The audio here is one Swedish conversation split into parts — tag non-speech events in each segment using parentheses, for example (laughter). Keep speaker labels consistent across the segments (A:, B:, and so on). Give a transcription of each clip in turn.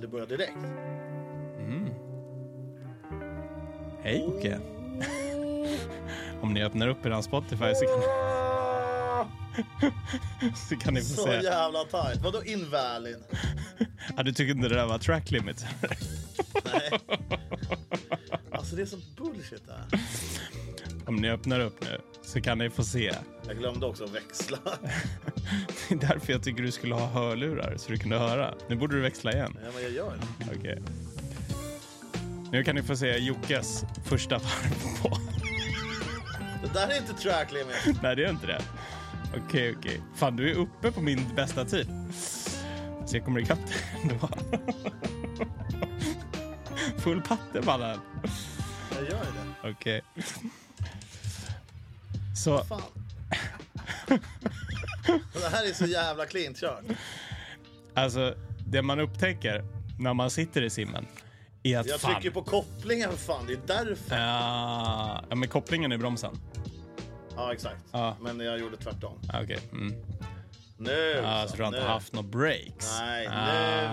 A: det börjar direkt.
B: Hej Jocke! (laughs) Om ni öppnar upp er Spotify så kan, så kan ni få
A: Så
B: se.
A: jävla tajt. Vadå in Valin?
B: Ja, du tyckte inte det där var track limit? (laughs)
A: Nej. Alltså det är så bullshit det här.
B: Om ni öppnar upp nu så kan ni få se. (laughs)
A: Jag glömde också att växla.
B: Det är därför jag tycker du skulle ha hörlurar så du kunde höra. Nu borde du växla igen.
A: Nej men jag gör det.
B: Okej. Nu kan ni få se Jockes första varv på. (laughs)
A: Det där är inte track limit.
B: Nej, det är inte det. Okej, okej. Fan, du är uppe på min bästa tid. Så jag kommer ikapp dig ändå. (laughs) Full patte, mannen.
A: Jag gör det.
B: Okej. Så,
A: Fan. Det här är så jävla clean kört.
B: alltså, det man upptäcker när man sitter i simmen är att
A: Jag
B: fan...
A: trycker på kopplingen för fan, det är därför.
B: Ah, ja, men kopplingen är bromsen.
A: Ja exakt.
B: Ja.
A: Men jag gjorde tvärtom.
B: Ah, Okej. Mm.
A: Nu
B: Ah,
A: så,
B: så du har inte
A: nu.
B: haft några breaks?
A: Nej,
B: Ah,
A: nu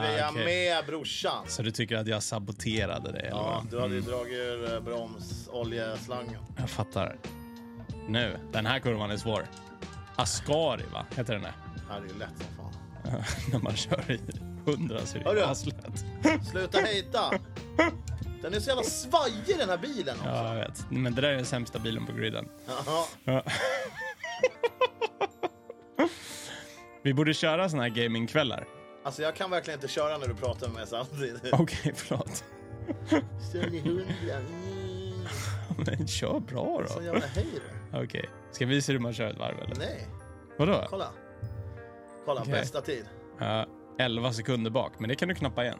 A: är jag
B: okej.
A: med brorsan.
B: Så du tycker att jag saboterade dig? eller
A: Ja,
B: vad?
A: du hade ju dragit ur eh, bromsoljeslangen.
B: Jag fattar. Nu, den här kurvan är svår. Ascari, va? Heter den det? (laughs)
A: Här är ju lätt som fan.
B: När man kör i hundra så är
A: Hörru.
B: det aslätt.
A: Sluta hejta! Den är så jävla svajig den här bilen också.
B: Ja, jag vet. Men det där är den sämsta bilen på griden.
A: Ja.
B: Vi borde köra såna här gamingkvällar.
A: Alltså jag kan verkligen inte köra när du pratar med mig samtidigt.
B: (laughs) Okej, förlåt.
A: Kör i hundra. Mm.
B: Men kör bra
A: Sån
B: då.
A: jävla hej du.
B: Okej, ska vi visa hur man kör ett varv eller?
A: Alltså, Nej,
B: Vadå?
A: kolla. Kolla,
B: Okej.
A: bästa tid.
B: Ja, 11 sekunder bak, men det kan du knappa igen.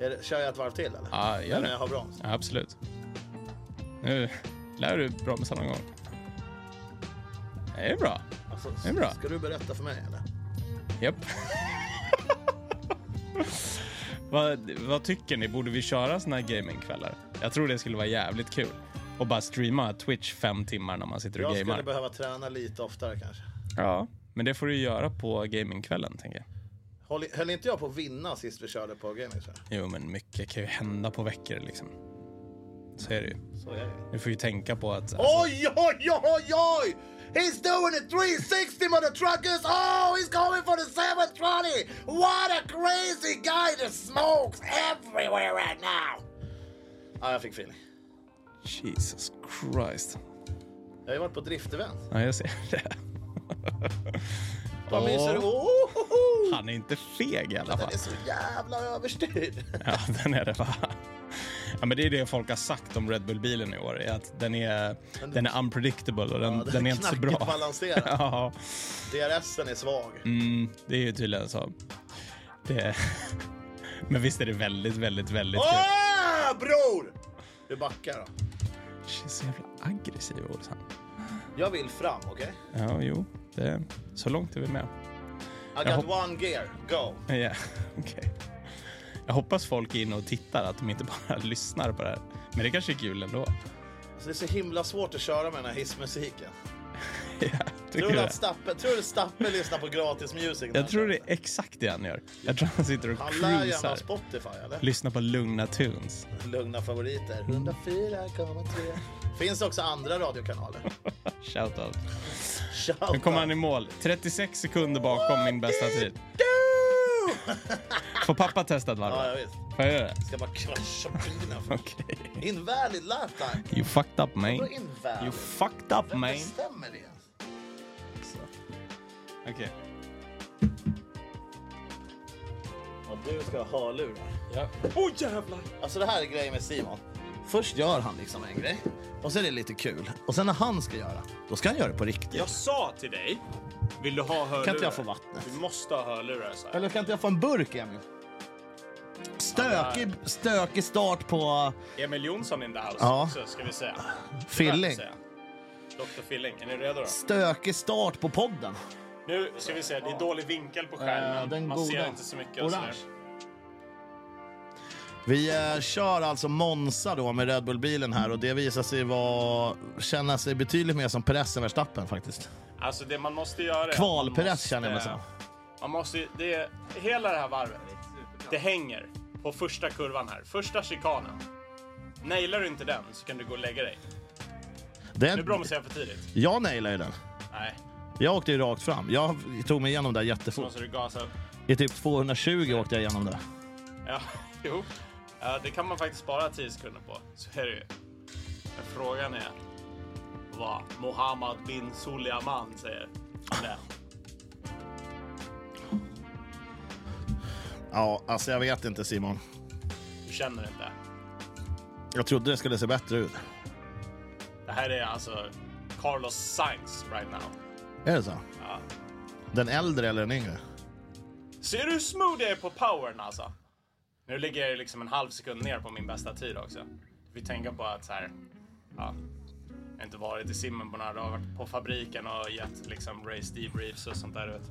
A: Är det, kör jag ett varv till eller?
B: Ja, gör
A: När
B: det.
A: jag har broms.
B: Ja, absolut. Nu lär du bromsa någon gång. Det är bra.
A: Alltså,
B: Det är bra.
A: Ska du berätta för mig eller?
B: Japp. (laughs) vad, vad tycker ni? Borde vi köra såna här gamingkvällar? Jag tror det skulle vara jävligt kul. Och bara streama Twitch fem timmar när man sitter och
A: Jag
B: gamear.
A: skulle behöva träna lite oftare kanske.
B: Ja, men det får du göra på gamingkvällen, tänker jag.
A: Håll, höll inte jag på att vinna sist vi körde på gaming? tror jag?
B: Jo, men mycket kan ju hända på veckor liksom. Så är det ju.
A: Så är det.
B: Du får ju tänka på att...
A: Oj, oj, oj, oj! He's doing it 360 mother truckers! Oh, he's going for the 720! What a crazy guy! The smokes everywhere right now! Ja, jag fick feeling.
B: Jesus Christ.
A: Jag har ju varit på driftevent.
B: Ja, jag ser det.
A: Vad
B: Åh.
A: myser du? Oh,
B: Han är inte feg i alla
A: den
B: fall.
A: är så jävla överstyrd.
B: Ja, den är det va? Ja, men det är det folk har sagt om Red Bull-bilen i år, är att den är, den är unpredictable och den,
A: Ja,
B: den,
A: den
B: är inte så
A: knackigt
B: bra.
A: balanserad.
B: (laughs) Ja,
A: DRSen är svag.
B: mm, det är ju tydligen så. Det, (laughs) men visst är det väldigt, väldigt, väldigt kul.
A: Åh, bror! Du backar då.
B: Shit, Så jävla aggressiv Olsson.
A: Jag vill fram, okej?
B: Ja, jo, det, så långt är vi med.
A: I
B: Jag
A: got one gear, go!
B: (laughs) Ja, okej. Jag hoppas folk är inne och tittar, att de inte bara (laughs) lyssnar på det här. Men det kanske är kul ändå. (laughs)
A: Alltså, det är så himla svårt att köra med den här hissmusiken.
B: Ja, tycker
A: Tror
B: du
A: du
B: det?
A: att Stappe, tror du Stappe lyssnar på gratis music?
B: Jag tror det är exakt det han gör. Jag tror han sitter och
A: Han lär ju ändå ha
B: cruisar.
A: Spotify eller?
B: Lyssna på lugna tunes. (laughs)
A: Lugna favoriter. 104,3. Finns också andra radiokanaler.
B: Shoutout.
A: Shout
B: Nu kommer
A: out.
B: han i mål. 36 sekunder bakom min bästa tid. (laughs) Får pappa testa ett
A: Ja, ja,
B: varv?
A: visst.
B: Får jag göra det?
A: Ska bara krascha bilen.
B: (laughs)
A: för-
B: Okej.
A: Invalid lifetime.
B: You fucked up man.
A: Vadå invalid?
B: You fucked up
A: Vem
B: man.
A: bestämmer det? ens?
B: Okej.
A: Ja, du ska ha hörlurar.
B: Ja.
A: Alltså det här är grejen med Simon. Först gör han liksom en grej. Och sen är det lite kul. Och sen när han ska göra, då ska han göra det på riktigt.
C: Jag sa till dig, vill du ha hörlurar?
A: Kan inte jag få vattnet?
C: Du måste ha hörlurar, sa jag.
A: Eller kan inte jag få en burk, Emil? Stökig, stökig start på
C: Emil Jonsson in the house
A: Ja.
C: också, ska vi säga.
A: Filling.
C: Dr Filling, är ni redo då?
A: Stökig start på podden.
C: Nu ska vi se, det är dålig vinkel på skärmen.
A: Eh, den
C: Äh, Man ser
A: goda.
C: inte så mycket. och
A: Orange.
C: sådär.
A: Vi eh, kör alltså Monza då med Red Bull-bilen här och det visar sig vara, känna sig betydligt mer som Perez än Verstappen faktiskt.
C: Alltså det man måste göra... är att
A: Kval
C: man
A: Perez
C: måste-
A: känner jag mig som.
C: Man måste ju- det är, hela det här varvet, det hänger. på första kurvan här. Första chikanen. Nailar du inte den så kan du gå och lägga dig. Nu
A: Den,
C: bromsar jag för tidigt.
A: jag nailade ju den.
C: Nej,
A: Jag åkte ju rakt fram. Jag tog mig igenom där
C: så
A: jättefort.
C: måste du gasa upp.
A: I typ 220 åkte jag igenom där.
C: Ja, (laughs) jo. Ja, det kan man faktiskt spara 10 sekunder på. Så är det ju. Men frågan är vad Mohammed bin Suleiman säger. om det.
A: Ja, alltså jag vet inte Simon.
C: Du känner inte.
A: Jag trodde det skulle se bättre ut.
C: Det här är alltså Carlos Sainz right now.
A: Är det så?
C: Ja.
A: Den äldre eller den yngre?
C: Ser du hur smooth jag är på powern alltså? Nu ligger jag ju liksom en halv sekund ner på min bästa tid också. Vi tänker på att så här, ja, jag har inte varit i simmen på några dagar, varit på fabriken och gett liksom race debriefs och sånt där ut.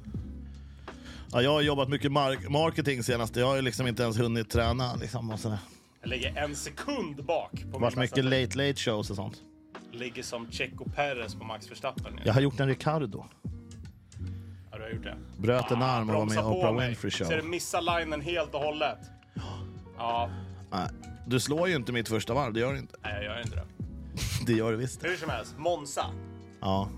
A: Ja, jag har jobbat mycket mark- marketing senast. Jag har ju liksom inte ens hunnit träna liksom och sådär.
C: Jag ligger en sekund bak på
A: Varit
C: min bästa
A: mycket
C: tid.
A: late late shows och sånt.
C: Ligger som Checo Perez på Max Verstappen nu.
A: Jag har gjort en Ricardo.
C: Ja, du har gjort det.
A: Bröt en arm och var med
C: Ah, Bromsa
A: i
C: på
A: Oprah
C: mig.
A: Winfrey show.
C: Ser du missa linen helt och hållet? Ja,
A: Nej, du slår ju inte mitt första varv, det gör du inte.
C: nej jag gör inte det.
A: Det gör du visst.
C: Hur som helst, Monza.
A: Ja.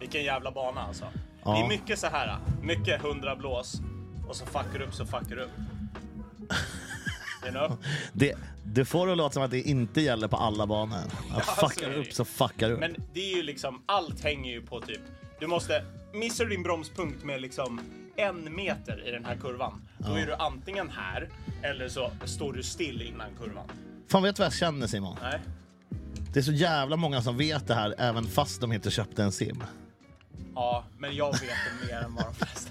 C: Vilken jävla bana alltså.
A: Ja.
C: Det är mycket så här. Mycket hundra blås. Och så fuckar upp så fuckar upp. You know?
A: Det, det får det att låta som att det inte gäller på alla banor.
C: (laughs)
A: Att
C: Ja, så är
A: fuckar
C: det ju.
A: upp så fuckar upp.
C: Men det är ju liksom, allt hänger ju på typ, du måste, missar du din bromspunkt med liksom en meter i den här kurvan, då är du antingen här eller så står du still innan kurvan.
A: Fan vet du vad jag känner Simon?
C: Nej,
A: Det är så jävla många som vet det här även fast de inte köpte en sim.
C: ja, men jag vet det mer än vad de flesta.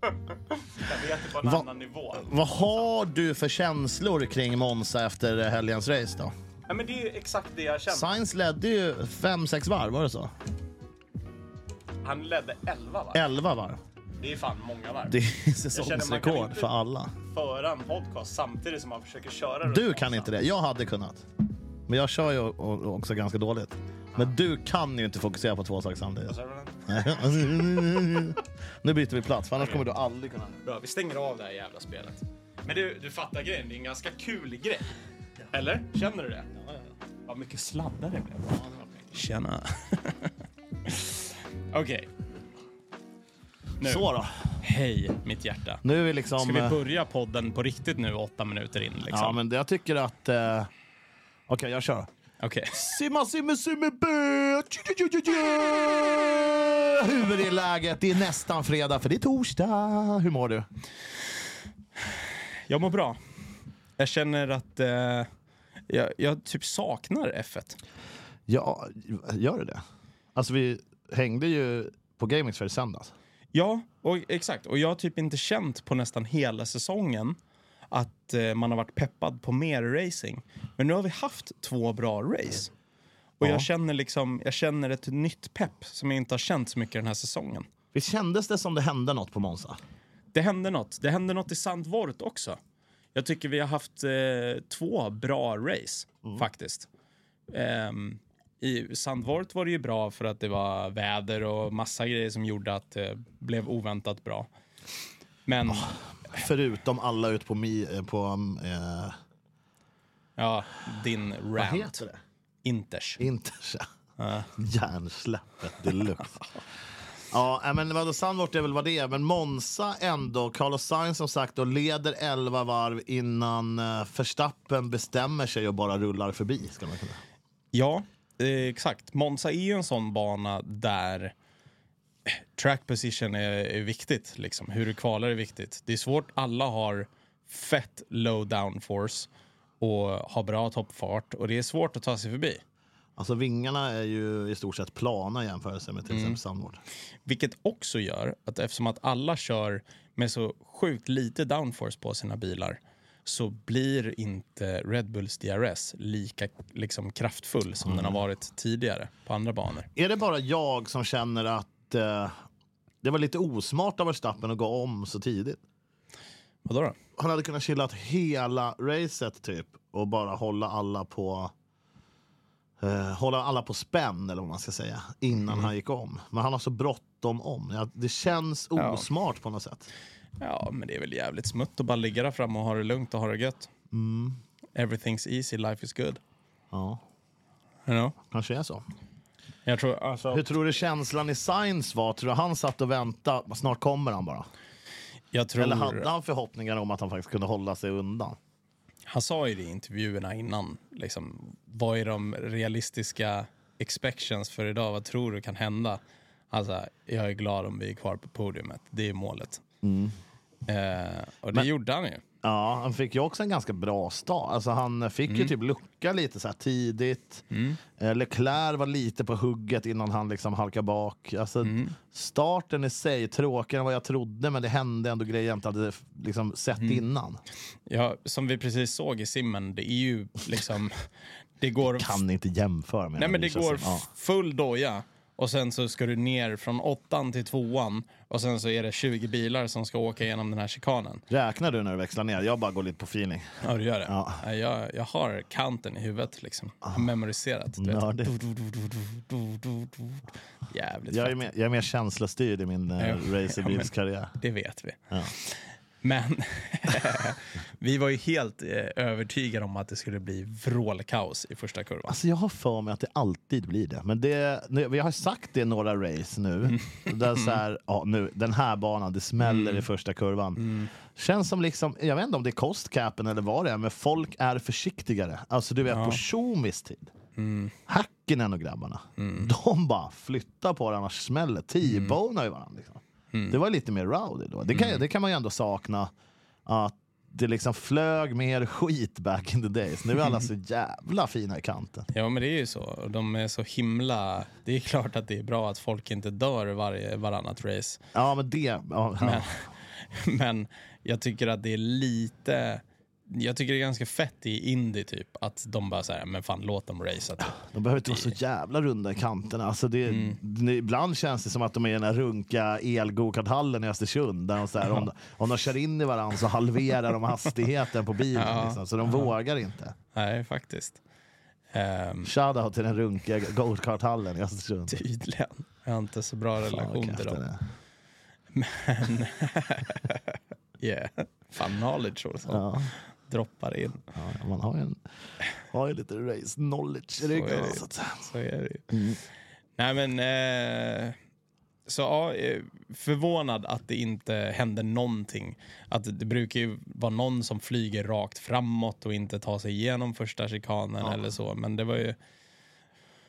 C: jag vet det på en
A: Va-
C: annan nivå.
A: Vad har du för känslor kring Monza efter helgens race då?
C: Ja, men det är ju exakt det jag känner.
A: Sainz ledde ju 5-6 varv, var det så?
C: Han ledde 11 va?
A: 11 varv.
C: Det är fan många varv.
A: Det är
C: man kan
A: säsongsrekord
C: inte-
A: för alla.
C: Föra en podcast samtidigt som man försöker köra runt
A: Du kan
C: Monza.
A: inte det. Jag hade kunnat. Men jag kör ju o- o- också ganska dåligt. Men du kan ju inte fokusera på två saker samtidigt.
C: Vad sa du med den?
A: Nu byter vi plats, för annars kommer du aldrig kunna...
C: Bra, vi stänger av det här jävla spelet. Men du, du fattar grejen, det är en ganska kul grej. Eller? Känner du det? Ja, ja, ja. Vad mycket sladdar det blev.
B: Tjena. (laughs) Okej. Nu.
A: Så då.
B: Hej, mitt hjärta.
A: Nu är vi liksom...
B: Ska vi
A: eh,
B: börja podden på riktigt nu, åtta minuter in? Liksom?
A: Ja, men jag tycker att... Eh... Okej, jag kör.
B: Okej.
A: Simma, simma, simma, bö! Tju, tju, tju, tju, tju! Hur är läget? Det är nästan fredag, för det är torsdag. Hur mår du?
B: Jag mår bra. Jag känner att eh, jag, jag typ saknar F1.
A: Ja, gör du det? Alltså, vi hängde ju på Gamings för i söndags.
B: Ja, och, exakt. Och jag har typ inte känt på nästan hela säsongen att eh, man har varit peppad på mer racing. Men nu har vi haft två bra race. Och
A: Ja.
B: jag, känner liksom, jag känner ett nytt pepp som jag inte har känt så mycket den här säsongen.
A: Visst kändes det som det hände något på Monza?
B: Det hände något. Det hände något i Sandvort också. Jag tycker vi har haft eh, två bra race
A: Mm.
B: faktiskt. Ehm, I Sandvort var det ju bra för att det var väder och massa grejer som gjorde att det blev oväntat bra. Men
A: Ah. Förutom alla ut på... Mi, eh, på eh,
B: ja, din
A: vad
B: rant.
A: heter det?
B: Inters.
A: Intersa. (laughs) Hjärnsläppet deluxe. Ja, nej, men vadå, Sandvort är väl vad det är. Men Monza ändå. Carlos Sainz som sagt då leder 11 varv innan eh, Verstappen bestämmer sig och bara rullar förbi. Ska man kunna.
B: Ja, eh, exakt. Monza är ju en sån bana där eh, track position är, är viktigt. Liksom. Hur du kvalar är viktigt. Det är svårt. Alla har fett low downforce och har bra toppfart och det är svårt att ta sig förbi.
A: Alltså vingarna är ju i stort sett plana i jämförelse med till exempel Sandvort.
B: Vilket också gör att eftersom att alla kör med så sjukt lite downforce på sina bilar så blir inte Red Bulls DRS lika liksom, kraftfull som den har varit tidigare på andra banor.
A: Är det bara jag som känner att eh, det var lite osmart av Verstappen att gå om så tidigt?
B: Vadå då?
A: han hade kunnat chillat hela racet typ och bara hålla alla på eh, hålla alla på spänn eller vad man ska säga
B: Mm.
A: innan han gick om. Men han har så bråttom om. Ja, det känns
B: Ja.
A: osmart på något sätt.
B: Ja, men det är väl jävligt smutt att bara ligga där framme och ha det lugnt och ha det gött. Everything's easy, life is good.
A: Ja,
B: You know?
A: kanske är så.
B: Jag tror alltså...
A: Hur tror du känslan i Science var? Tror du han satt och väntade? Snart kommer han bara.
B: Jag tror...
A: Eller hade han förhoppningar om att han faktiskt kunde hålla sig undan?
B: Han sa ju det i intervjuerna innan. Liksom, vad är de realistiska expections för idag? Vad tror du kan hända? Alltså, jag är glad om vi är kvar på podiumet. Det är målet. Eh, och det gjorde han ju.
A: Ja, han fick ju också en ganska bra start. Alltså han fick
B: Mm.
A: ju typ lucka lite så här tidigt. Eh, Leclerc var lite på hugget innan han liksom halkade bak. Alltså
B: Mm.
A: starten i sig, tråkigare än vad jag trodde, men det hände ändå grejer jag inte hade liksom sett
B: Mm.
A: innan.
B: Ja, som vi precis såg i simmen, det är ju liksom... (laughs) Det går,
A: Kan inte jämföra med
B: nej,
A: den,
B: men det
A: känns
B: går
A: som. Ja.
B: full doja och sen så ska du ner från åttan till tvåan och sen så är det 20 bilar som ska åka igenom den här chikanen.
A: Räknar du när du växlar ner? Jag bara går lite på feeling.
B: Ja, du gör det.
A: Ja. Ah.
B: Ja. Jag, jag har kanten i huvudet. Liksom. Jag har memoriserat. Du vet.
A: Nördigt.
B: Jävligt
A: Jag är
B: fett.
A: mer, jag är mer känslostyrd i min eh,
B: Ja,
A: racerbilskarriär.
B: Det vet vi. Men (laughs) vi var ju helt eh, övertygade om att det skulle bli vrålkaos i första kurvan.
A: Alltså jag har för mig att det alltid blir det. Men det, nu, vi har sagt det i några race nu. Där så här, ja, nu. Den här banan, det smäller i första kurvan. Känns som, liksom, jag vet inte om det är kostcapen eller vad det är, men folk är försiktigare. Alltså du vet på Tjomis tid.
B: Mm.
A: Hackinen och grabbarna. De bara flyttar på det annars smäller T-bonar ju varandra. Liksom. Det var lite mer rowdy då. Det kan, det kan man ju ändå sakna. Att det liksom flög mer skit back in the days. Nu är alla så jävla fina i kanten.
B: Ja, men det är ju så. Och De är så himla... Det är klart att det är bra att folk inte dör varje, varannat race. (laughs)
A: Ja, men det... Ja, ja.
B: Men jag tycker att det är lite... Jag tycker det är ganska fett i indie typ att de bara så här, men fan låt dem
A: (laughs)
B: racea typ.
A: De behöver inte vara så jävla runda i kanterna. Alltså det, det, ibland känns det som att de är i den här runka elgokarthallen i Östersund. Där de så här, om, om de kör in i varandra så halverar de hastigheten på bilen. Liksom, så de vågar inte.
B: Nej, faktiskt. Ehm,
A: Shoutout till den runkiga gokarthallen i Östersund.
B: tydligen. Jag har inte så bra relation
A: Fan,
B: till
A: kraften
B: dem.
A: är.
B: (laughs) Yeah. Fan knowledge och sånt.
A: Ja.
B: Droppar in.
A: Ja, man har ju, en, har ju lite race knowledge i ryggen.
B: är det.
A: Så att säga.
B: Så är det ju.
A: Mm.
B: Nej men... Eh, så ja, eh, förvånad att det inte hände någonting. Att det brukar ju vara någon som flyger rakt framåt och inte tar sig igenom första chikanen eller så. Men det var ju...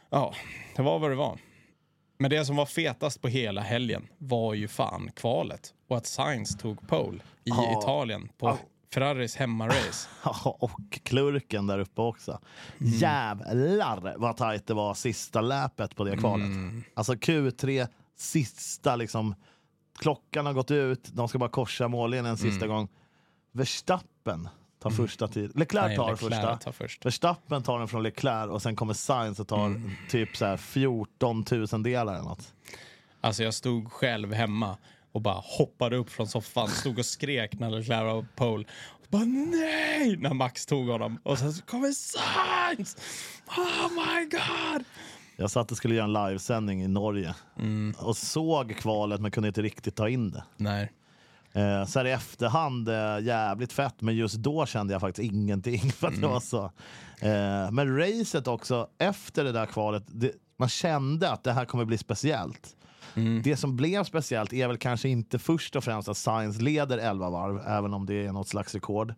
B: Ja, det var vad det var. Men det som var fetast på hela helgen var ju fan kvalet. Och att Sainz tog pole i Italien på Ferraris hemmarace.
A: Ja, och klurken där uppe också.
B: Mm.
A: Jävlar vad tajt det var sista läpet på det kvalet.
B: Mm.
A: Alltså Q3, sista liksom. Klockan har gått ut, de ska bara korsa mållinjen en sista
B: Mm.
A: gång. Verstappen tar första tid. Leclerc
B: Nej,
A: tar
B: Leclerc
A: första.
B: tar först.
A: Verstappen tar den från Leclerc och sen kommer Sainz och tar
B: Mm.
A: typ så här 14 000 delar eller något.
B: Alltså jag stod själv hemma och bara hoppade upp från soffan, stod och skrek när Leclerc var på pole. Och bara nej! När Max tog honom. Och sen så kommer Sainz! Oh my god!
A: Jag satt och skulle göra en livesändning i Norge
B: Mm.
A: och såg kvalet men kunde inte riktigt ta in det.
B: Nej.
A: Eh, så här i efterhand, eh, jävligt fett, men just då kände jag faktiskt ingenting. (laughs) För att
B: Mm.
A: det var så. Eh, men racet också, efter det där kvalet, det, man kände att det här kommer bli speciellt.
B: Mm.
A: Det som blev speciellt är väl kanske inte först och främst att Sainz leder 11 varv, även om det är något slags rekord.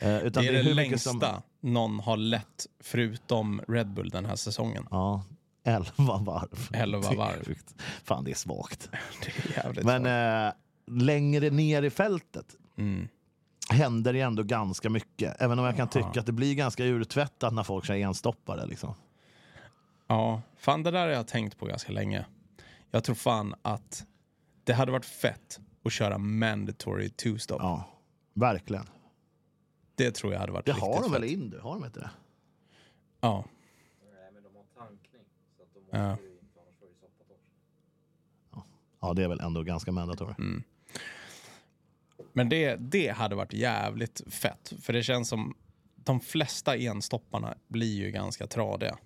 A: Eh, utan
B: Mm. Det är det,
A: hur mycket
B: längsta
A: Som,
B: någon har lett förutom Red Bull den här säsongen.
A: ja, 11 varv.
B: 11
A: Det är
B: varv.
A: sjukt. Fan, (laughs) det är svagt.
B: Det är jävligt
A: Men
B: svårt.
A: eh, längre ner i fältet
B: eh, mm.
A: händer det ändå ganska mycket. Även om jag kan tycka att det blir ganska urtvättat när folk kör enstoppare. Liksom.
B: Ja, fan det där har jag tänkt på ganska länge. Jag tror fan att det hade varit fett att köra mandatory two-stop.
A: Ja, verkligen.
B: Det tror jag hade varit
A: Det
B: riktigt
A: har de väl
B: fett.
A: i Indy? Har de inte det?
B: Ja.
D: Nej, men de har tankning. Så att de måste
B: Ja.
D: ju inte, annars får det ju soppatorsk.
A: Ja, det är väl ändå ganska mandatory.
B: Men det, det hade varit jävligt fett. För det känns som de flesta enstopparna blir ju ganska tradiga.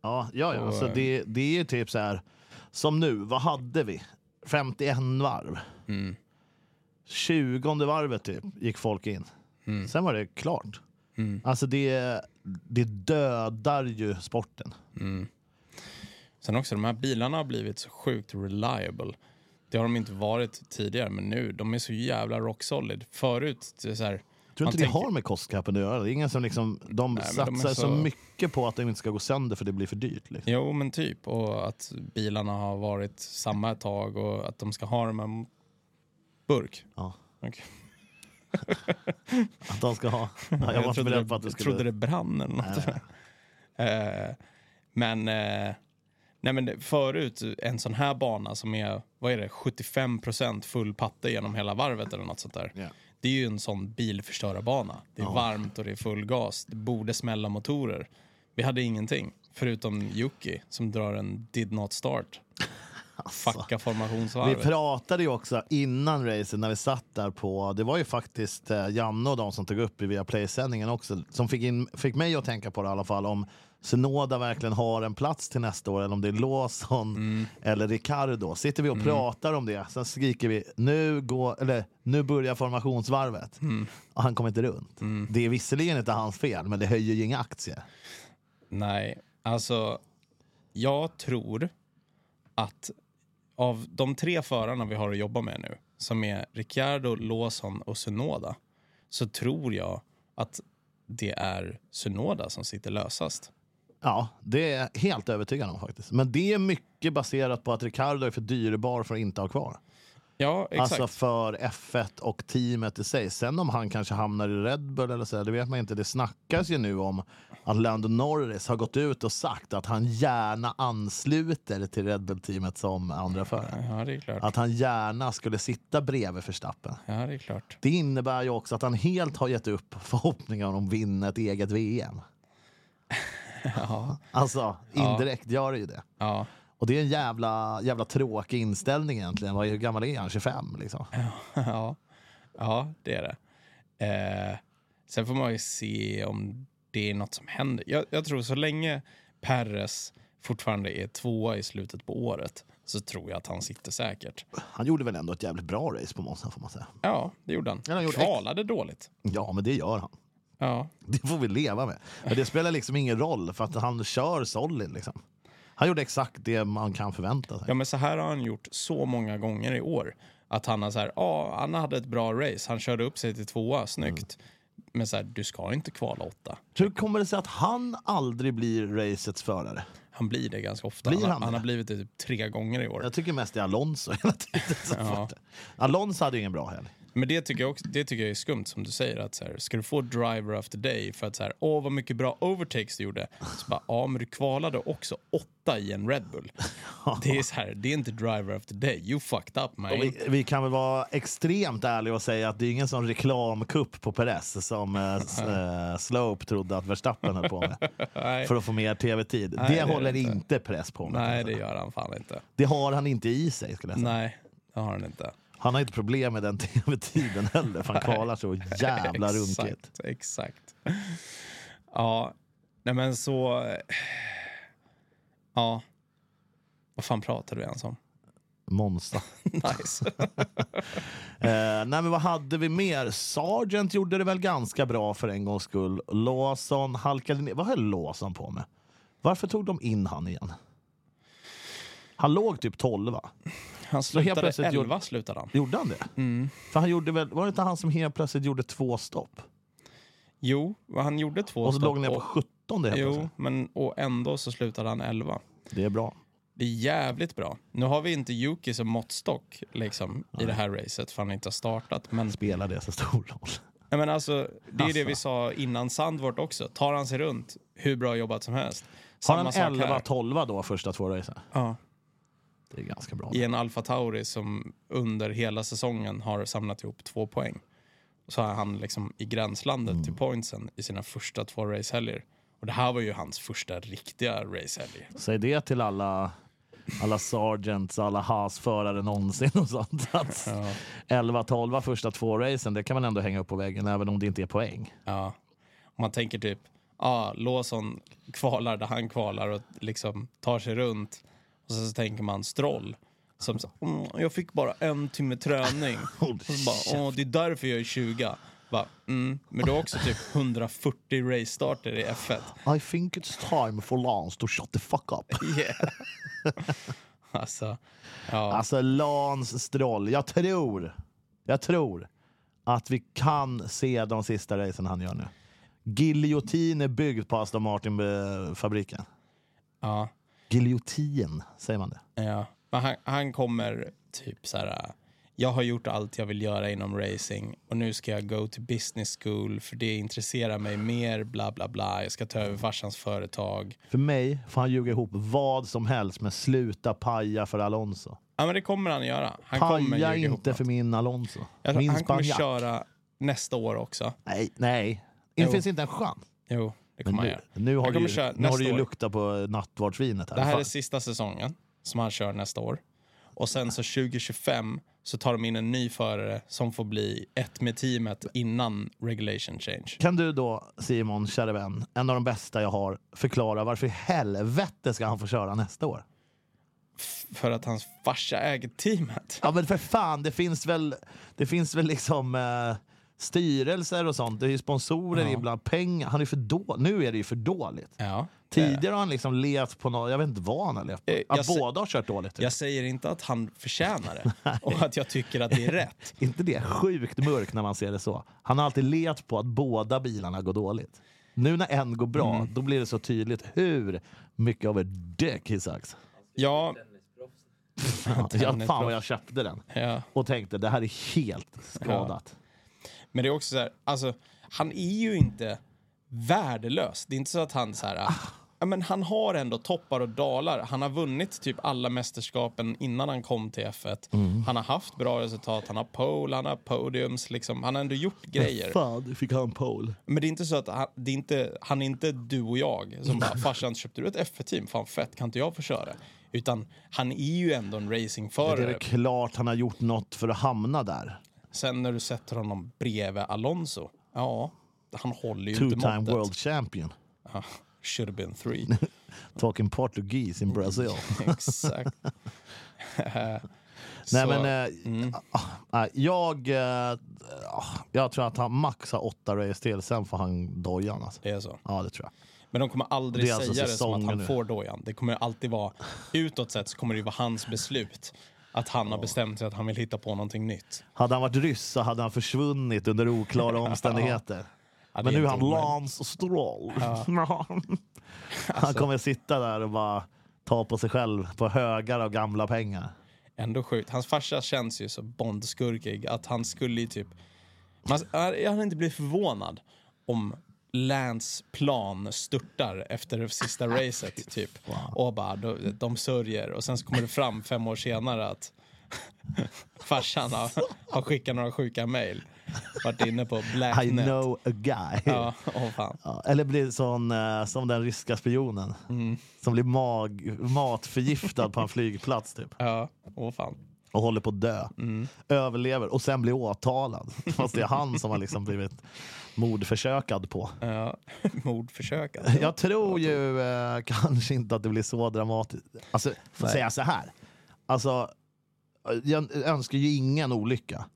A: Ja, ja, ja. Alltså, det, det är ju typ Mm. så här, som nu, vad hade vi? 51 varv. 20 varvet typ gick folk in. Sen var det klart. Alltså det, det dödar ju sporten.
B: Sen också, de här bilarna har blivit så sjukt reliable. Det har de inte varit tidigare, men nu, de är så jävla rock solid. Förut, det är så här...
A: Tror
B: man
A: inte det
B: tänker-
A: har med kostkappen att göra? Det är ingen som liksom, de
B: men
A: satsar
B: de är
A: så...
B: så
A: mycket på att de inte ska gå sönder för det blir för dyrt. Liksom.
B: Jo, men typ. Och att bilarna har varit samma ett tag och att de ska ha dem en burk.
A: Ja.
B: Okej.
A: Att de ska ha... Ja, jag, var
B: (laughs) Jag
A: inte
B: trodde,
A: beredd
B: det,
A: på att du
B: jag
A: skulle...
B: trodde det brann eller något. (laughs) Eh, men, eh, nej men det- förut, en sån här bana som är, vad är det, 75% full patte genom hela varvet eller något sånt där.
A: Ja.
B: Det är ju en sån bilförstörarbana. Det är varmt och det är full gas. Det borde smälla motorer. Vi hade ingenting, förutom Yuki som drar en did not start.
A: Alltså.
B: Fucka
A: Vi
B: formationsvarvet.
A: pratade ju också innan racen när vi satt där på, det var ju faktiskt eh, Janne och de som tog upp i via sändningen också, som fick, in, fick mig att tänka på det i alla fall, om Sunoda verkligen har en plats till nästa år eller om det är Lawson eller Ricardo. Sitter vi och pratar om det, sen skriker vi nu, går, eller, nu börjar formationsvarvet. Och han kommer inte runt. Det är visserligen inte hans fel, men det höjer ju inga aktier.
B: Nej, alltså jag tror att av de tre förarna vi har att jobba med nu som är Ricciardo, Lawson och Sunoda så tror jag att det är Sunoda som sitter lösast.
A: Ja, det är jag helt övertygad om faktiskt. Men det är mycket baserat på att Ricardo är för dyrbar för att inte ha kvar.
B: Ja, exakt.
A: Alltså för F1 och teamet i sig. Sen om han kanske hamnar i Red Bull eller så, det vet man inte. Det snackas ju nu om att Lando Norris har gått ut och sagt att han gärna ansluter till Red Bull-teamet som andra förare.
B: Ja, det är klart.
A: Att han gärna skulle sitta bredvid Verstappen.
B: Ja, det är klart. (laughs)
A: Det innebär ju också att han helt har gett upp förhoppningar om att vinna ett eget VM.
B: Ja,
A: Alltså, indirekt gör det ju det.
B: ja.
A: Och det är en jävla, jävla tråkig inställning egentligen. Vad- Hur gammal är han? 25 liksom?
B: (laughs) ja. ja det är det. Eh, sen får man ju se om det är något som händer. Jag, jag tror så länge Perres fortfarande är tvåa i slutet på året så tror jag att han sitter säkert.
A: Han gjorde väl ändå ett jävligt bra race på Monza får man säga.
B: Ja, det gjorde han.
A: Ja, han gjorde
B: Kvalade dåligt.
A: Ja, men det gör han. (laughs)
B: Ja.
A: Det får vi leva med. Men det spelar liksom ingen roll för att han kör solid liksom. Han gjorde exakt det man kan förvänta sig.
B: ja, men så här har han gjort så många gånger i år. Att han har så här, ja, han hade ett bra race. Han körde upp sig till tvåa, snyggt.
A: Mm.
B: Men så här, du ska inte kvala åtta.
A: Hur kommer det sig att han aldrig blir racets förare?
B: Han blir det ganska ofta.
A: Blir
B: han,
A: han
B: han
A: det?
B: har blivit det typ tre gånger i år.
A: Jag tycker mest det är Alonso (laughs) hela tiden. som fått det. Alonso hade ju ingen bra helg.
B: Men det tycker jag, också, det tycker jag är skumt som du säger. Att så här, ska du få driver after day för att så här, åh vad mycket bra overtakes du gjorde. Så bara, ja men du kvalade också åtta i en Red
A: (laughs)
B: Bull. Det är så här, det är inte driver after day. You fucked up man.
A: Och vi, vi kan väl vara extremt ärliga och säga att det är ingen sån reklamkupp på Perez som eh,
B: (laughs)
A: s- eh, Slope trodde att Verstappen höll på med.
B: Nej.
A: För att få mer tv-tid. Det,
B: det är
A: håller
B: det
A: inte.
B: inte.
A: press på med.
B: Nej, det gör han fan inte.
A: Det har han inte i sig skulle jag säga.
B: Nej, det har han inte.
A: Han har inte problem med den tv-tiden heller.
B: (laughs)
A: För han kvalar så jävla runkigt.
B: Exakt, exakt. Ja, nej men så... eh, Ja. Vad fan pratar du ens om?
A: Monster.
B: (laughs) Nice.
A: (laughs) Eh, nej men vad hade vi mer? Sargent gjorde det väl ganska bra för en gångs skull. Lawson halkade ner. Vad höll Lawson på med? Varför tog de in han igen? Han låg typ 12 va?
B: Han
A: helt
B: slutade
A: plötsligt gjorde-
B: 11 slutade han.
A: Gjorde han det?
B: Mm.
A: För han gjorde väl, var det inte han som helt plötsligt gjorde två stopp?
B: Jo, han gjorde två
A: Och så låg
B: stopp
A: han ner på
B: och-
A: 17 helt
B: Jo,
A: plötsligt.
B: men och ändå så slutade han 11.
A: Det är bra.
B: Det är jävligt bra. Nu har vi inte Yuki som måttstock liksom, i det här racet för han inte har startat. Men,
A: Spelar det så stor roll?
B: Nej, men alltså, det är
A: Alltså.
B: det vi sa innan Sandvort också. Tar han sig runt, hur bra jobbat som helst.
A: Har
B: Samma
A: han
B: sak här.
A: 11-12 då första två racen?
B: Ja,
A: Det är ganska bra.
B: I en Alfa Tauri som under hela säsongen har samlat ihop två poäng. Så är han liksom i gränslandet
A: Mm.
B: till pointsen i sina första två racehelger. Och det här var ju hans första riktiga racehelg.
A: Säg det till alla, alla sergeants, alla Haas-förare någonsin och
B: (laughs)
A: sånt. Att 11-12 första två racen, det kan man ändå hänga upp på väggen även om det inte är poäng.
B: Ja. Om man tänker typ, ah, Lawson kvalar där han kvalar och liksom tar sig runt. Och sen så tänker man Stroll Som så, mm, jag fick bara en timme träning.
A: Håll
B: Och så bara, Åh, det är därför jag är 20. Bara, mm, men du har också typ 140 race-starter i F1.
A: I think it's time for Lance to shut the fuck up.
B: Yeah. (laughs) alltså, ja.
A: (laughs) Alltså Lance Stroll, jag tror, jag tror att vi kan se de sista racen han gör nu. Giljotin är byggd på Aston eh, Martin-fabriken.
B: ja,
A: Giljotin, säger man det?
B: ja. Men han, han kommer typ så här... Jag har gjort allt jag vill göra inom racing och nu ska jag go to business school för det intresserar mig mer, bla bla bla. Jag ska ta över farsans företag.
A: För mig får han ljuga ihop vad som helst, men sluta paja för Alonso.
B: Ja, men det kommer han göra. Han kommer
A: Paja
B: ljuga ihop
A: inte
B: något.
A: för min Alonso.
B: Jag tror
A: min
B: han kommer
A: spanjack.
B: köra nästa år också.
A: Nej, nej. Det
B: Jo.
A: finns inte en chans.
B: Jo,
A: Men
B: det kommer han göra.
A: nu, nu har
B: han
A: du
B: kommer
A: ju,
B: köra
A: nu har
B: nästa
A: du ju
B: år.
A: luktat på nattvardsvinet. Här.
B: Det här
A: Fan.
B: är sista säsongen som han kör nästa år. Och sen så 2025 så tar de in en ny förare som får bli ett med teamet innan regulation change.
A: Kan du då, Simon, kära vän, en av de bästa jag har, förklara varför i helvete ska han få köra nästa år?
B: För att hans farsa äger teamet.
A: Ja men för fan, det finns väl, det finns väl liksom eh, styrelser och sånt. Det är ju sponsorer ibland, pengar. Han är för då, nu är det ju för dåligt.
B: Ja.
A: Tidigare har han liksom levt på något, jag vet inte vad han har levt på.
B: Eh,
A: Att
B: jag se-
A: båda har kört dåligt. typ.
B: Jag säger inte att han förtjänar
A: (laughs)
B: det och att jag tycker att det är rätt.
A: inte det sjukt mörkt när man ser det så? Han har alltid levt på att båda bilarna går dåligt. Nu när en går bra,
B: Mm.
A: då blir det så tydligt hur mycket av ett dick he sucks.
B: (laughs) Ja,
D: Tennisproffs.
A: Jag, fan vad jag köpte den.
B: ja.
A: Och tänkte, det här är helt skadat.
B: Men det är också så här, alltså, han är ju inte värdelös. Det är inte så att han så här,
A: Ah.
B: ja, men han har ändå toppar och dalar. Han har vunnit typ alla mästerskapen innan han kom till F1.
A: Mm.
B: Han har haft bra resultat, han har pole, han har podiums, liksom. han har ändå gjort grejer.
A: Fan, du fick han pole.
B: Men det är inte så att han, det är inte, han är inte du och jag som bara “farsan, köpte du ett F1-team? Fan fett, kan inte jag få köra?” Utan han är ju ändå en
A: Det är
B: racingförare.
A: väl klart han har gjort något för att hamna där.
B: Sen när du sätter honom bredvid Alonso, ja, han håller ju
A: Two
B: inte
A: time
B: måttet.
A: world champion.
B: Ah, should have been three.
A: (laughs) Talking Portuguese
B: Mm.
A: in Brazil.
B: Exakt.
A: (laughs) Nej
B: Så, Mm.
A: men, eh, ah, ah, jag, eh, ah, jag tror att han max har åtta race till, sen får han dojan. Alltså.
B: Det är så.
A: Ja det tror jag.
B: Men de kommer aldrig
A: Det är alltså
B: säga det som att
A: säsongen
B: han
A: nu.
B: får dojan. Det kommer alltid vara, utåt sett så kommer det ju vara hans beslut. Att han har bestämt sig att han vill hitta på någonting nytt.
A: Hade han varit ryss så hade han försvunnit under
B: (laughs)
A: oklara omständigheter.
B: Ja,
A: Men
B: det
A: nu är
B: inte
A: han
B: omöjligt.
A: Lance Stroll. (laughs) han
B: Alltså.
A: kommer sitta där och bara ta på sig själv på högar av gamla pengar.
B: Ändå sjukt. Hans farsa känns ju så bondskurkig att han skulle ju typ... Man, jag hade inte blivit förvånad om Lance plan störtar efter
A: (laughs)
B: det sista racet typ. Och bara, de, de sörjer och sen så kommer det fram fem år senare att (laughs) farsan har, har skickat några sjuka mejl. Varit inne på
A: I
B: Blacknet.
A: know a guy.
B: Ja, åh fan.
A: Ja, Eller blir sån eh, som den ryska spionen.
B: Mm.
A: Som blir mag- matförgiftad på en flygplats typ.
B: Ja, åh fan.
A: Och håller på att dö.
B: Mm.
A: Överlever och sen blir
B: (laughs)
A: åtalad. Fast det är han som har liksom blivit mordförsökad på.
B: Ja, (laughs) mordförsök alltså.
A: Jag tror ju eh, kanske inte att det blir så dramatiskt. Alltså, får
B: Nej.
A: säga så här. Alltså, jag önskar ju ingen olycka.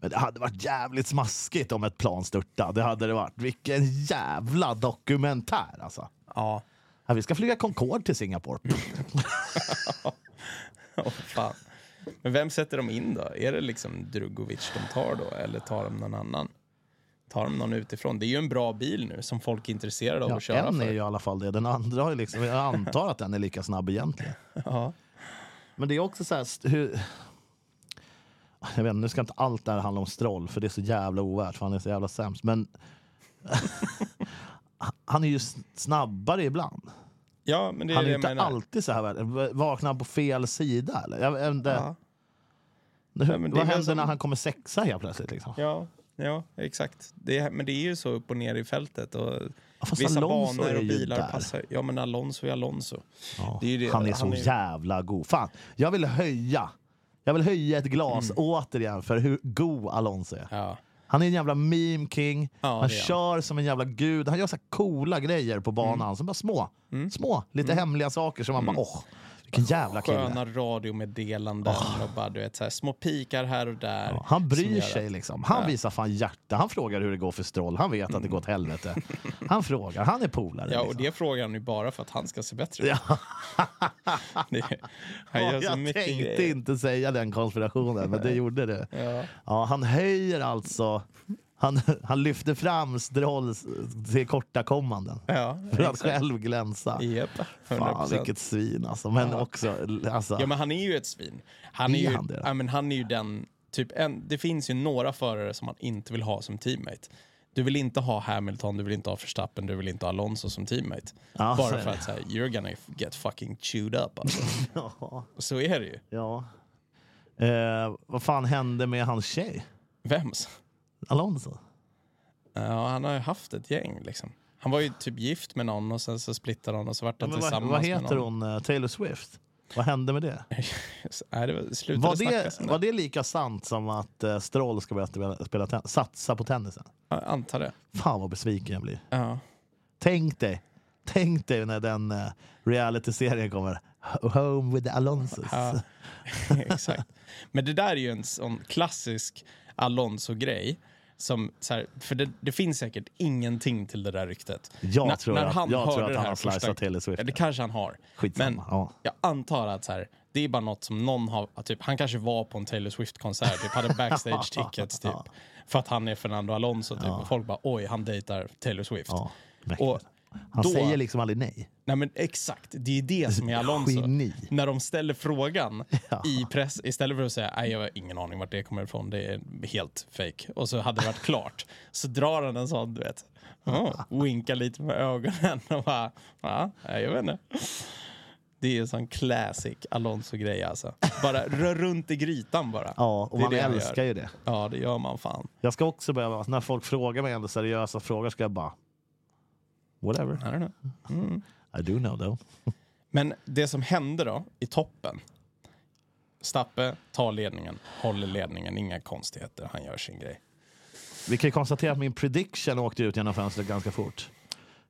A: Men det hade varit jävligt smaskigt om ett plan störtade. Det hade det varit. Vilken jävla dokumentär alltså.
B: Ja,
A: Ja, vi ska flyga Concorde till Singapore.
B: Mm. (laughs) åh fan. Men vem sätter de in då? Är det liksom Drugovic de tar då eller tar de någon annan? Tar de någon utifrån? Det är ju en bra bil nu som folk är intresserade av
A: Ja,
B: att köra
A: en är
B: för.
A: ju i alla fall det. Den andra har ju liksom, jag antar att den är lika snabb egentligen.
B: Ja.
A: Men det är också så här, st- hur... Jag vet inte, nu ska inte allt det här handla om Stroll, för det är så jävla ovärt, för han är så jävla sämst. Men (laughs) han är ju s- snabbare ibland.
B: ja, men det är
A: Han är
B: det
A: ju
B: jag
A: inte
B: menar.
A: alltid så här. värd- Vaknar han på fel sida eller? Jag vet inte.
B: Ja.
A: Hur,
B: Nej, men det är
A: vad
B: väl
A: händer
B: som-
A: när han kommer sexa helt plötsligt? Liksom?
B: Ja, ja exakt. Det är, men det är ju så upp och ner i fältet. Och
A: fast
B: vissa
A: Alonso
B: banor
A: är
B: och
A: ju
B: bilar
A: där.
B: passar. Ja, men Alonso är Alonso.
A: Ja,
B: Det är ju det.
A: Han är
B: Han
A: så
B: är-
A: jävla god. Fan, jag vill höja. Jag vill höja ett glas
B: Mm.
A: återigen för hur god Alonso är.
B: Ja.
A: Han är en jävla meme king.
B: Ja,
A: han
B: det är han.
A: kör som en jävla gud.
B: Mm.
A: Han gör så här coola grejer på banan. Som bara små, små lite hemliga saker som man bara åh, Vilken jävla kille.
B: Sköna radiomeddelanden och bara du vet så här, små pikar här och där.
A: Ah. Ja, Han
B: som
A: bryr
B: gör
A: sig
B: att-
A: liksom. Han visar fan hjärta. Han frågar hur det går för Stroll. Han vet att det går åt helvete. Han frågar. Han är polare.
B: Mm. Ja, och
A: liksom.
B: det frågar han ju bara för att han ska se bättre ut. (laughs) Det- han gör
A: Ja,
B: så
A: jag
B: mycket
A: tänkte
B: grejer.
A: inte säga den konspirationen, men det gjorde det. Ja. han höjer alltså... Han, han lyfter fram Stroll till korta kommanden
B: Ja,
A: för att själv glänsa.
B: Japp, 100%.
A: Fan, vilket svin alltså. Men också... Alltså,
B: Ja, men han är ju ett svin. Han är,
A: Är
B: ju,
A: han det?
B: ja, men han är ju den... Typ en, det finns ju några förare som man inte vill ha som teammate. Du vill inte ha Hamilton, du vill inte ha Verstappen, du vill inte ha Alonso som teammate.
A: Ja, så är
B: Bara för
A: det. (laughs)
B: att säga, you're gonna get fucking chewed up. Alltså. Så är det ju.
A: ja. Eh, vad fan hände med hans tjej?
B: Vems?
A: Alonso?
B: Ja, han har ju haft ett gäng liksom. Han var ju typ gift med någon och sen så splittade han och så vart han
A: Men vad,
B: tillsammans
A: vad
B: med
A: heter
B: någon.
A: hon? eh, Taylor Swift? Vad hände med det?
B: (laughs) Nej, det var, slutade
A: Var
B: snackas
A: det,
B: om
A: var det lika sant som att eh, Stroll ska börja spela, spela ten- satsa på tennisen?
B: Jag antar det.
A: Fan vad besviken jag blir.
B: Ja.
A: Tänk dig, tänk dig när den uh, reality-serien kommer. Ho- Home with the Alonsos.
B: Ja, (laughs) exakt. Men det där är ju en sån klassisk Alonso-grej. Som, så här, för det, det finns säkert ingenting till det där ryktet.
A: Jag
B: När-
A: tror
B: när
A: att-
B: han
A: jag tror
B: hörde
A: att
B: det
A: han
B: här
A: har sliceat
B: första-
A: Taylor Swift.
B: Ja, det kanske han har.
A: Skitsamma,
B: Men
A: ja.
B: jag antar att så här, det är bara något som någon har... att Typ, han kanske var på en Taylor Swift-konsert, typ, hade
A: (laughs)
B: backstage tickets typ. För att han är Fernando Alonso typ. Och folk bara oj, han dejtar Taylor Swift.
A: Ja, mäktigt.
B: och
A: Han
B: då-
A: säger liksom aldrig nej.
B: Nej men exakt, det är ju det
A: (laughs)
B: som är Alonso.
A: Geni.
B: När de ställer frågan
A: Ja.
B: i press, istället för att säga nej jag har ingen aning vart det kommer ifrån, det är helt fake. Och så hade det varit klart. Så drar han en sån, du vet, oh, vinkar lite med ögonen (laughs) och bara, ja, nej, jag vet inte. Det är en sån classic Alonso-grej alltså. Bara rör runt i grytan bara.
A: Ja, och
B: Det är
A: man
B: det han gör.
A: älskar ju det.
B: Ja, det gör man fan.
A: Jag ska också börja, när folk frågar mig ändå seriösa frågor ska jag bara... Whatever.
B: I don't know.
A: I do know though.
B: Men det som hände då i toppen. Stappe tar ledningen, håller ledningen, inga konstigheter, han gör sin grej.
A: Vi kan ju konstatera att min prediction åkte ut genom fönstret ganska fort.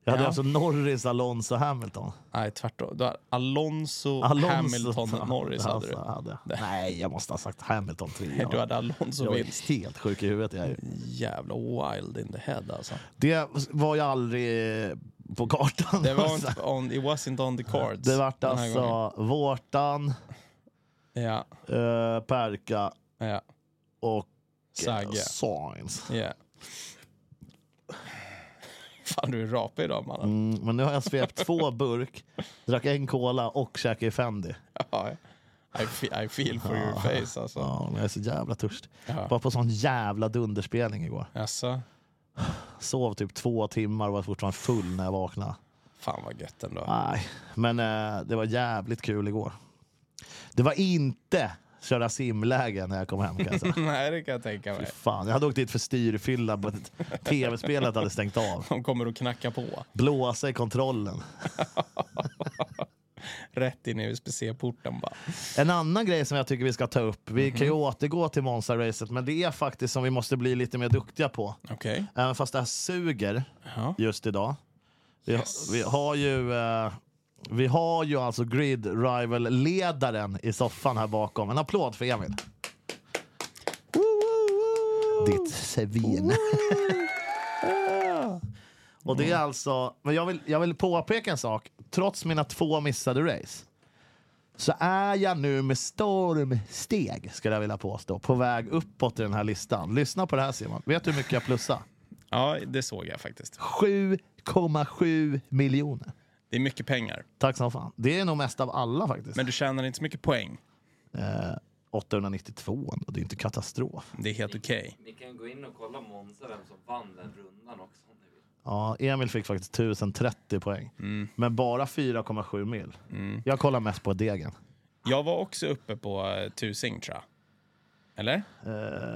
A: Jag hade
B: Ja.
A: alltså Norris, Alonso, Hamilton.
B: Nej, tvärtom. Du har Alonso,
A: Alonso
B: Hamilton,
A: fan,
B: Norris hade
A: alltså,
B: du.
A: hade. Nej, jag måste ha sagt Hamilton trea.
B: Du hade Alonso
A: jag
B: vill.
A: är helt sjuk i huvudet. Jag är.
B: Jävla wild in the head alltså.
A: Det var ju aldrig eh, på kartan. (laughs)
B: Det var inte on, it wasn't on the cards.
A: Det vart
B: den här gången.
A: alltså Vårtan,
B: Ja,
A: eh, Perka
B: ja,
A: och eh,
B: Sagge.
A: Sainz.
B: Ja. Fan, du är rapig idag mannen.
A: Mm, men nu har jag svept två burk, drack en cola och käkade Fendi.
B: (laughs) Ja, I, fe- I feel
A: (laughs)
B: for your face alltså.
A: Ja, men jag är så jävla törstig.
B: Ja.
A: Var på sån jävla dunderspelning igår.
B: Alltså,
A: Sov typ två timmar och var fortfarande full när jag vaknade.
B: fan vad gött ändå.
A: Nej, men eh, det var jävligt kul igår. Det var inte köra simläge när jag kom hem kan jag säga.
B: (laughs) Nej, det kan jag tänka mig.
A: Fan, jag hade åkt dit för styrfylla, men tv-spelet hade stängt av.
B: De kommer att knacka på.
A: Blåsa i kontrollen.
B: Rätt in i USB-C-porten bara.
A: En annan grej som jag tycker vi ska ta upp, vi kan ju återgå till Monza-racet, men det är faktiskt som vi måste bli lite mer duktiga på.
B: Okej.
A: Även fast det här suger
B: Ja.
A: just idag. Vi, vi har ju... Eh, vi har ju alltså Grid Rival-ledaren i soffan här bakom. En applåd för Emil. (laughs) Ditt svin. Och det är alltså... Men jag vill, jag vill påpeka en sak. Trots mina två missade race så är jag nu med stormsteg, skulle jag vilja påstå, på väg uppåt i den här listan. Lyssna på det här Simon. Vet du hur mycket jag plussar?
B: Ja, det såg jag faktiskt.
A: 7,7 miljoner.
B: Det är mycket pengar.
A: Tack som fan. Det är nog mest av alla faktiskt.
B: Men du tjänar inte så mycket poäng.
A: Eh, 892 ändå, det är inte katastrof.
B: Det är helt okej.
D: Ni kan gå in och kolla Monza vem som vann den rundan också om ni vill.
A: Ja, Emil fick faktiskt 1030 poäng. Men bara 4,7 mil. Jag kollar mest på degen.
B: Jag var också uppe på eh, tusing, tror jag. Eller?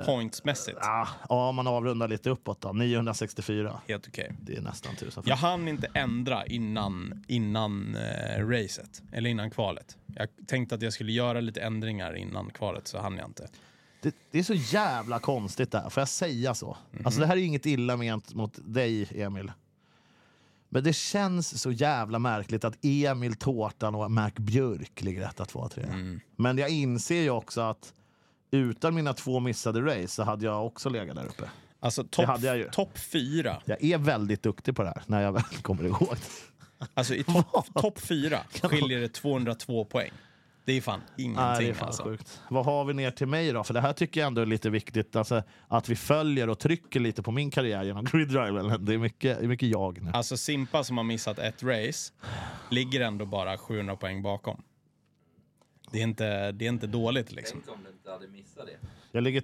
B: Pointsmässigt.
A: Ah, Eh, ja, om man avrundar lite uppåt då. 964.
B: Helt okej.
A: Det är nästan 1000.
B: Jag hann inte ändra innan, innan eh, racet, eller innan kvalet. Jag tänkte att jag skulle göra lite ändringar innan kvalet, så hann jag inte.
A: Det, det är så jävla konstigt det här, får jag säga så? Alltså det här är ju inget illa ment mot dig Emil. Men det känns så jävla märkligt att Emil Tårtan och Mac Björk ligger etta, tvåa, trea. Men jag inser ju också att utan mina två missade race så hade jag också legat där uppe.
B: Alltså topp
A: hade jag ju.
B: top fyra.
A: Jag är väldigt duktig på det här, när jag väl (laughs) kommer ihåg det.
B: Alltså i topp
A: (laughs)
B: top fyra skiljer det 202 poäng. Det är fan ingenting
A: Nej, det är fan
B: alltså.
A: sjukt. Vad har vi ner till mig då? För det här tycker jag ändå är lite viktigt. Alltså, att vi följer och trycker lite på min karriär genom (laughs) Grid Drive Island. Det är mycket, det är mycket jag nu.
B: Alltså Simpa som har missat ett race ligger ändå bara 700 poäng bakom. Det är inte, det är inte dåligt liksom.
D: Tänk om du inte hade missat det.
A: Jag ligger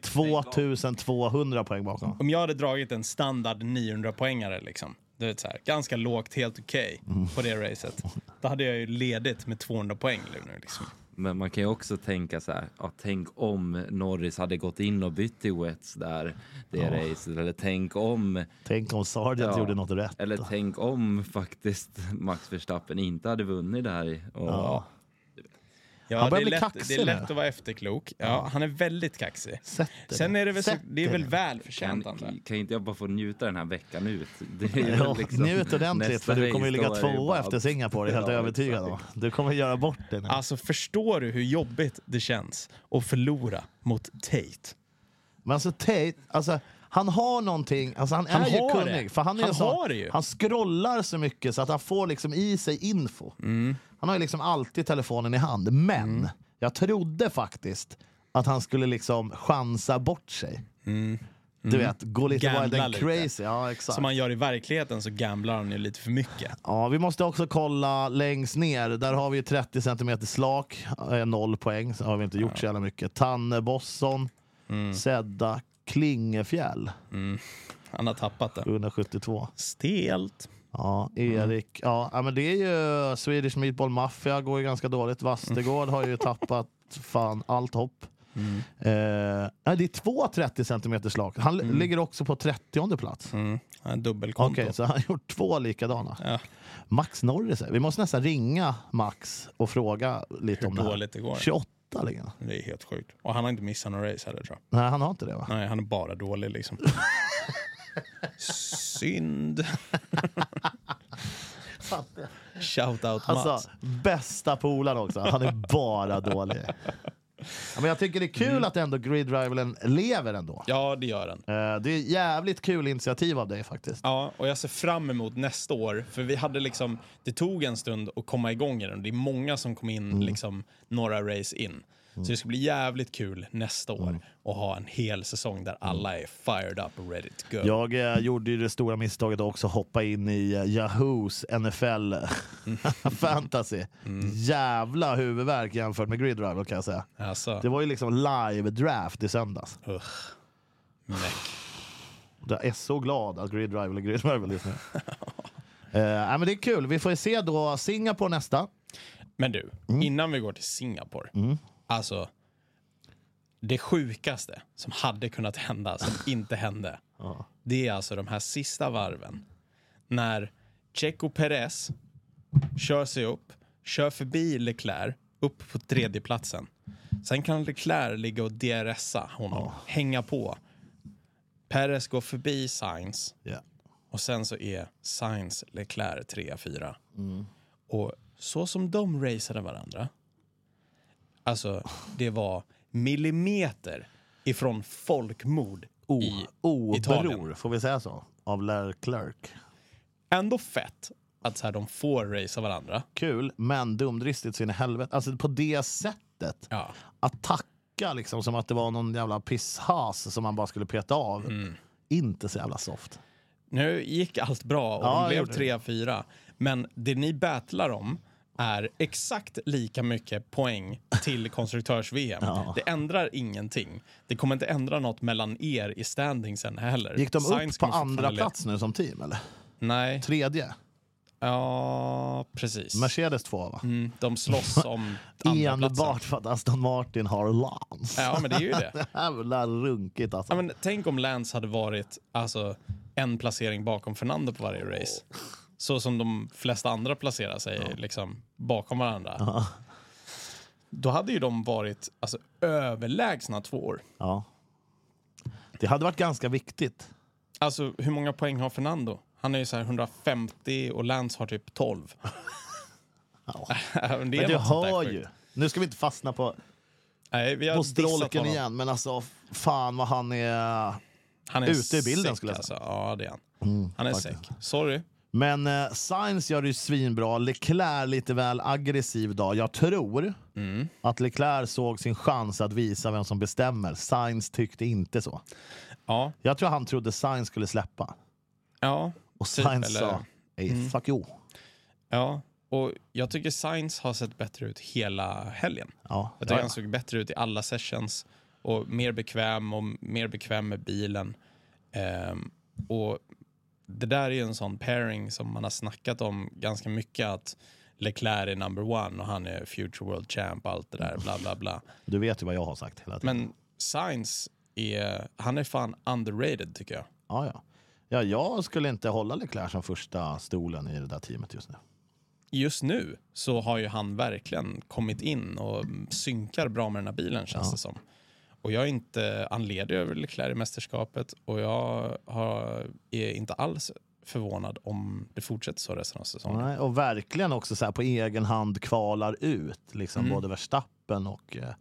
A: 2200 poäng bakom.
B: Om jag hade dragit en standard 900-poängare liksom. Du vet så här, ganska lågt, helt okej
A: Mm.
B: på det racet. Då hade jag ju ledigt med 200 poäng nu liksom.
E: Men man kan ju också tänka så här, ja, tänk om Norris hade gått in och bytt i Wets där, det racet. Eller tänk om,
A: Tänk om Sargent
E: Ja.
A: gjorde något rätt.
E: eller tänk om faktiskt Max Verstappen inte hade vunnit det här. Och,
A: Ja.
B: Ja,
A: Han börjar
B: det, är
A: bli
B: lätt,
A: kaxig
B: det är lätt
A: nu.
B: att vara efterklok. Ja, Han är väldigt kaxig.
A: Sätt dig
B: Sen
A: ner.
B: är det väl, så,
A: Sätt
B: det är
A: dig
B: väl
A: ner.
B: välförtjänt
E: Kan,
B: antar jag.
E: kan inte jag bara få njuta den här veckan ut? (laughs) Det är
A: Ja,
E: väl liksom
A: Njut ordentligt, för
E: nästa
A: du kommer ju
E: race,
A: ligga
E: då är det ju
A: tvåa
E: bara-
A: efter Singapore, det är jag helt
E: Ja,
A: övertygad om.
E: exakt.
A: Du kommer göra bort det nu.
B: Alltså förstår du hur jobbigt det känns att förlora mot Tate?
A: Men alltså Tate, alltså, han har någonting, alltså, han är
B: Han
A: ju
B: har
A: kunnig.
B: det.
A: För han, är
B: Han
A: ju så,
B: har det ju.
A: han scrollar så mycket så att han får liksom i sig info.
B: Mm.
A: Han har ju liksom alltid telefonen i hand. Men jag trodde faktiskt att han skulle liksom chansa bort sig. Du vet, gå lite
B: Mm. Gambla
A: wild and
B: lite.
A: crazy. Ja, exakt.
B: Som man gör i verkligheten så gamblar han ju lite för mycket.
A: Ja, vi måste också kolla längst ner. Där har vi ju 30 cm slak, eh, noll poäng. Så har vi inte gjort så jävla mycket. Tannebosson,
B: Mm.
A: Sedda, Klingefjäll,
B: Han har tappat det.
A: 772.
B: Stelt.
A: Ja,
B: Mm.
A: Erik. Ja, ja, men det är ju Swedish Meatball Mafia går ju ganska dåligt. Vastegård har ju
B: Mm.
A: tappat fan allt hopp. Eh, nej, det är två 30 cm slak. Han ligger också på 30 plats.
B: Mm. Han har dubbelkonto.
A: Okej, så han har gjort två likadana.
B: Ja.
A: Max Norris. är- Vi måste nästan ringa Max och fråga lite om det här.
B: dåligt det går.
A: 28 ligger han.
B: Det är helt sjukt. Och han har inte missat några race heller tror jag.
A: Nej, han har inte det va?
B: Nej, han är bara
A: (laughs)
B: dålig liksom. Synd. Shout out Mats.
A: Alltså, bästa polaren också. Han är
B: (laughs)
A: bara dålig. Ja, men jag tycker det är
B: Mm.
A: kul att ändå Grid Rivalen lever ändå.
B: Ja, det gör han.
A: Eh, Det är jävligt kul initiativ av dig faktiskt.
B: Ja, och jag ser fram emot nästa år. För vi hade liksom, det tog en stund att komma igång i den. Det är många som kom in liksom, några race in. Så det ska bli jävligt kul nästa år att ha en hel säsong där alla är fired up och ready to go.
A: Jag eh, gjorde ju det stora misstaget att också hoppa in i eh, Yahoos NFL (laughs) fantasy.
B: Mm.
A: Jävla huvudvärk jämfört med Grid Rival kan jag säga.
B: Alltså,
A: Det var ju liksom live-draft i söndags.
B: ugh. Meck.
A: Jag är så glad att Grid Rival är Grid Rival
B: (laughs)
A: just nu. Eh, nej, men det är kul. Vi får ju se då Singapore nästa.
B: Men du, innan vi går till Singapore. Alltså, det sjukaste som hade kunnat hända, som inte hände. Det är alltså de här sista varven. När Checo Perez kör sig upp, kör förbi Leclerc, upp på tredje platsen. Sen kan Leclerc ligga och DRSa honom, hänga på. Perez går förbi Sainz.
A: Ja.
B: Och sen så är Sainz Leclerc 3-4. Och så som de raceade varandra. Alltså, det var millimeter ifrån folkmord i Italien.
A: Oberor, får vi säga så? Av Leclerc.
B: Ändå fett att så här, de får racea varandra.
A: Kul, men dumdristigt så in i helvete. Alltså på det sättet.
B: Ja.
A: att tacka liksom som att det var någon jävla pisshas som man bara skulle peta av.
B: Mm.
A: Inte så jävla soft.
B: Nu gick allt bra och
A: Ja,
B: de
A: det
B: blev
A: gjorde
B: 3-4. Men det ni battlar om är exakt lika mycket poäng till konstruktörs-VM. Det ändrar ingenting. Det kommer inte ändra något mellan er i standingsen heller.
A: Gick de
B: Sainz
A: upp på
B: kommer
A: andra
B: fortfarande Mm. leda.
A: plats nu som team eller?
B: Nej.
A: Tredje?
B: Ja, precis.
A: Mercedes två va?
B: Mm, de slåss om andra platsen.
A: Enbart för att Aston Martin har Lance.
B: Ja, men det är ju det.
A: (laughs) Jävla runkigt alltså.
B: Ja, men tänk om Lance hade varit alltså, en placering bakom Fernando på varje race. Så som de flesta andra placerar sig liksom, bakom varandra. Då hade ju de varit alltså, överlägsna två år.
A: Ja. Det hade varit ganska viktigt.
B: Alltså, hur många poäng har Fernando? Han är ju så här 150 och Lance har typ 12. (laughs) Men det är
A: Men du
B: något sånt där
A: hör
B: sjukt.
A: ju. Nu ska vi inte fastna på,
B: Nej, vi har
A: på
B: dissat
A: strolken
B: honom.
A: igen, men alltså fan vad han är...
B: Han är
A: Ute i bilden,
B: sick,
A: skulle jag säga. Mm,
B: Alltså. Ja, det är han. han är
A: faktiskt.
B: säck. Sorry.
A: Men eh, Sainz gör det ju svinbra, Leclerc lite väl aggressiv dag. Jag tror
B: Mm.
A: att Leclerc såg sin chans att visa vem som bestämmer. Sainz tyckte inte så.
B: Ja,
A: Jag tror han trodde Sainz skulle släppa.
B: ja,
A: Och
B: Typ,
A: Sainz
B: eller- Mm.
A: sa, hey, fuck you.
B: ja. Och jag tycker Sainz har sett bättre ut hela helgen.
A: Ja,
B: Jag tycker
A: ja.
B: han såg bättre ut i alla sessions. Och mer bekväm och mer bekväm med bilen. Ehm, och det där är ju en sån pairing som man har snackat om ganska mycket. Att Leclerc är number one och han är future world champ och allt det där bla bla bla.
A: Du vet ju vad jag har sagt hela tiden.
B: Men Sainz är, han är fan underrated tycker jag.
A: Ja, ja. Ja, jag skulle inte hålla Leclerc som första stolen i det där teamet just nu.
B: Just nu så har ju han verkligen kommit in och synkar bra med den här bilen känns det som. Och jag är inte, han leder ju över Leclerc i mästerskapet och jag har, är inte alls förvånad om det fortsätter så resten av säsongen.
A: Nej, och verkligen också så här på egen hand kvalar ut liksom både Verstappen och eh,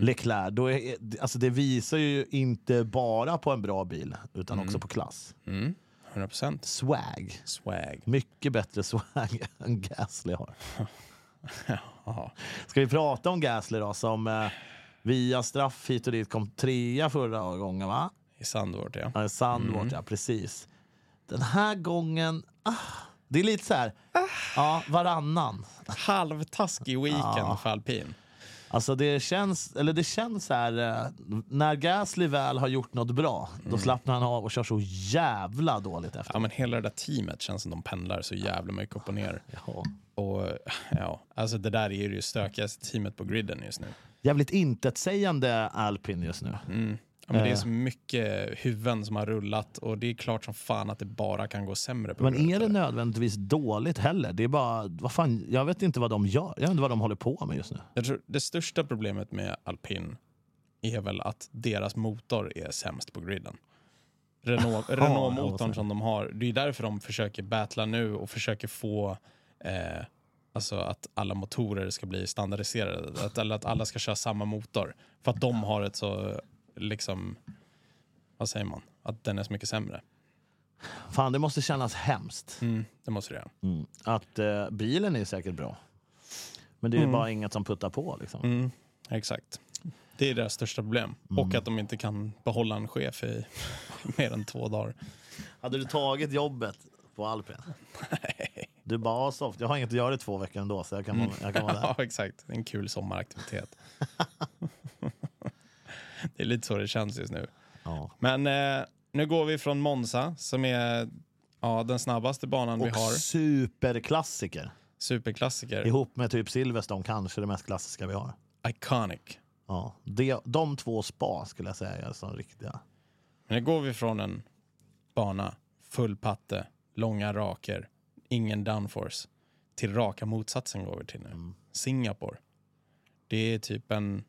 A: Leclerc. Då är, alltså det visar ju inte bara på en bra bil utan också på klass.
B: Mm, 100%
A: Swag.
B: swag.
A: Mycket bättre (laughs) swag än Gasly har.
B: Jaha.
A: Ska vi prata om Gasly då som eh, via straff hit och dit kom trea förra gången va?
B: I Sandvort ja.
A: Ja, Sandvort, ja precis. Den här gången, ah, det är lite så här, ja, varannan.
B: Halvtaskig weekend för alpin.
A: Alltså det känns, eller det känns så här, eh, när Gasly väl har gjort något bra, då slappnar han av och kör så jävla dåligt efter.
B: Mm. Ja men hela det där teamet känns som de pendlar så jävla mycket upp och ner.
A: Ja.
B: Och ja, alltså det där är ju det stökigaste teamet på griden just nu.
A: Jävligt intetsägande Alpin just nu.
B: Mm, Ja, men det
A: Eh.
B: är så mycket huvuden som har rullat och det är klart som fan att det bara kan gå sämre. På
A: Men
B: grund
A: är
B: av
A: det nödvändigtvis dåligt heller? Det är bara, vad fan, jag vet inte vad de gör. Jag vet inte vad de håller på med just nu.
B: Jag tror det största problemet med alpin är väl att deras motor är sämst på griden.
A: (laughs)
B: Renault-
A: vad säger
B: Renault-motorn som de har, det är därför de försöker battla nu och försöker få eh, alltså att alla motorer ska bli standardiserade, att, eller att alla ska köra samma motor. För att de har ett så, liksom, vad säger man, att den är så mycket sämre.
A: Fan, det måste kännas hemskt.
B: Mm, det måste det göra.
A: Att eh, bilen är säkert bra. Men
B: Mm.
A: det är ju bara inget som puttar på liksom.
B: Exakt. Det är deras största problem.
A: Mm.
B: Och att de inte kan behålla en chef i (laughs) mer än två dagar.
A: Hade du tagit jobbet på Alpin? Du bara, "Ja, soft, jag har inget att göra i två veckor ändå så jag kan vara, jag kan vara där.
B: (laughs) Ja, exakt. En kul sommaraktivitet. (laughs) det är lite så det känns just nu.
A: (laughs) Ja.
B: Men eh, nu går vi från Monza, som är ja, den snabbaste banan vi
A: Och
B: har.
A: superklassiker.
B: Superklassiker.
A: Ihop med typ Silverstone, kanske det mest klassiska vi har.
B: Iconic.
A: Ja. De, de två spa skulle jag säga är som riktiga.
B: Men nu går vi från en bana, full patte, långa raker, ingen downforce, till raka motsatsen går vi till nu. Singapore. Det är typ en,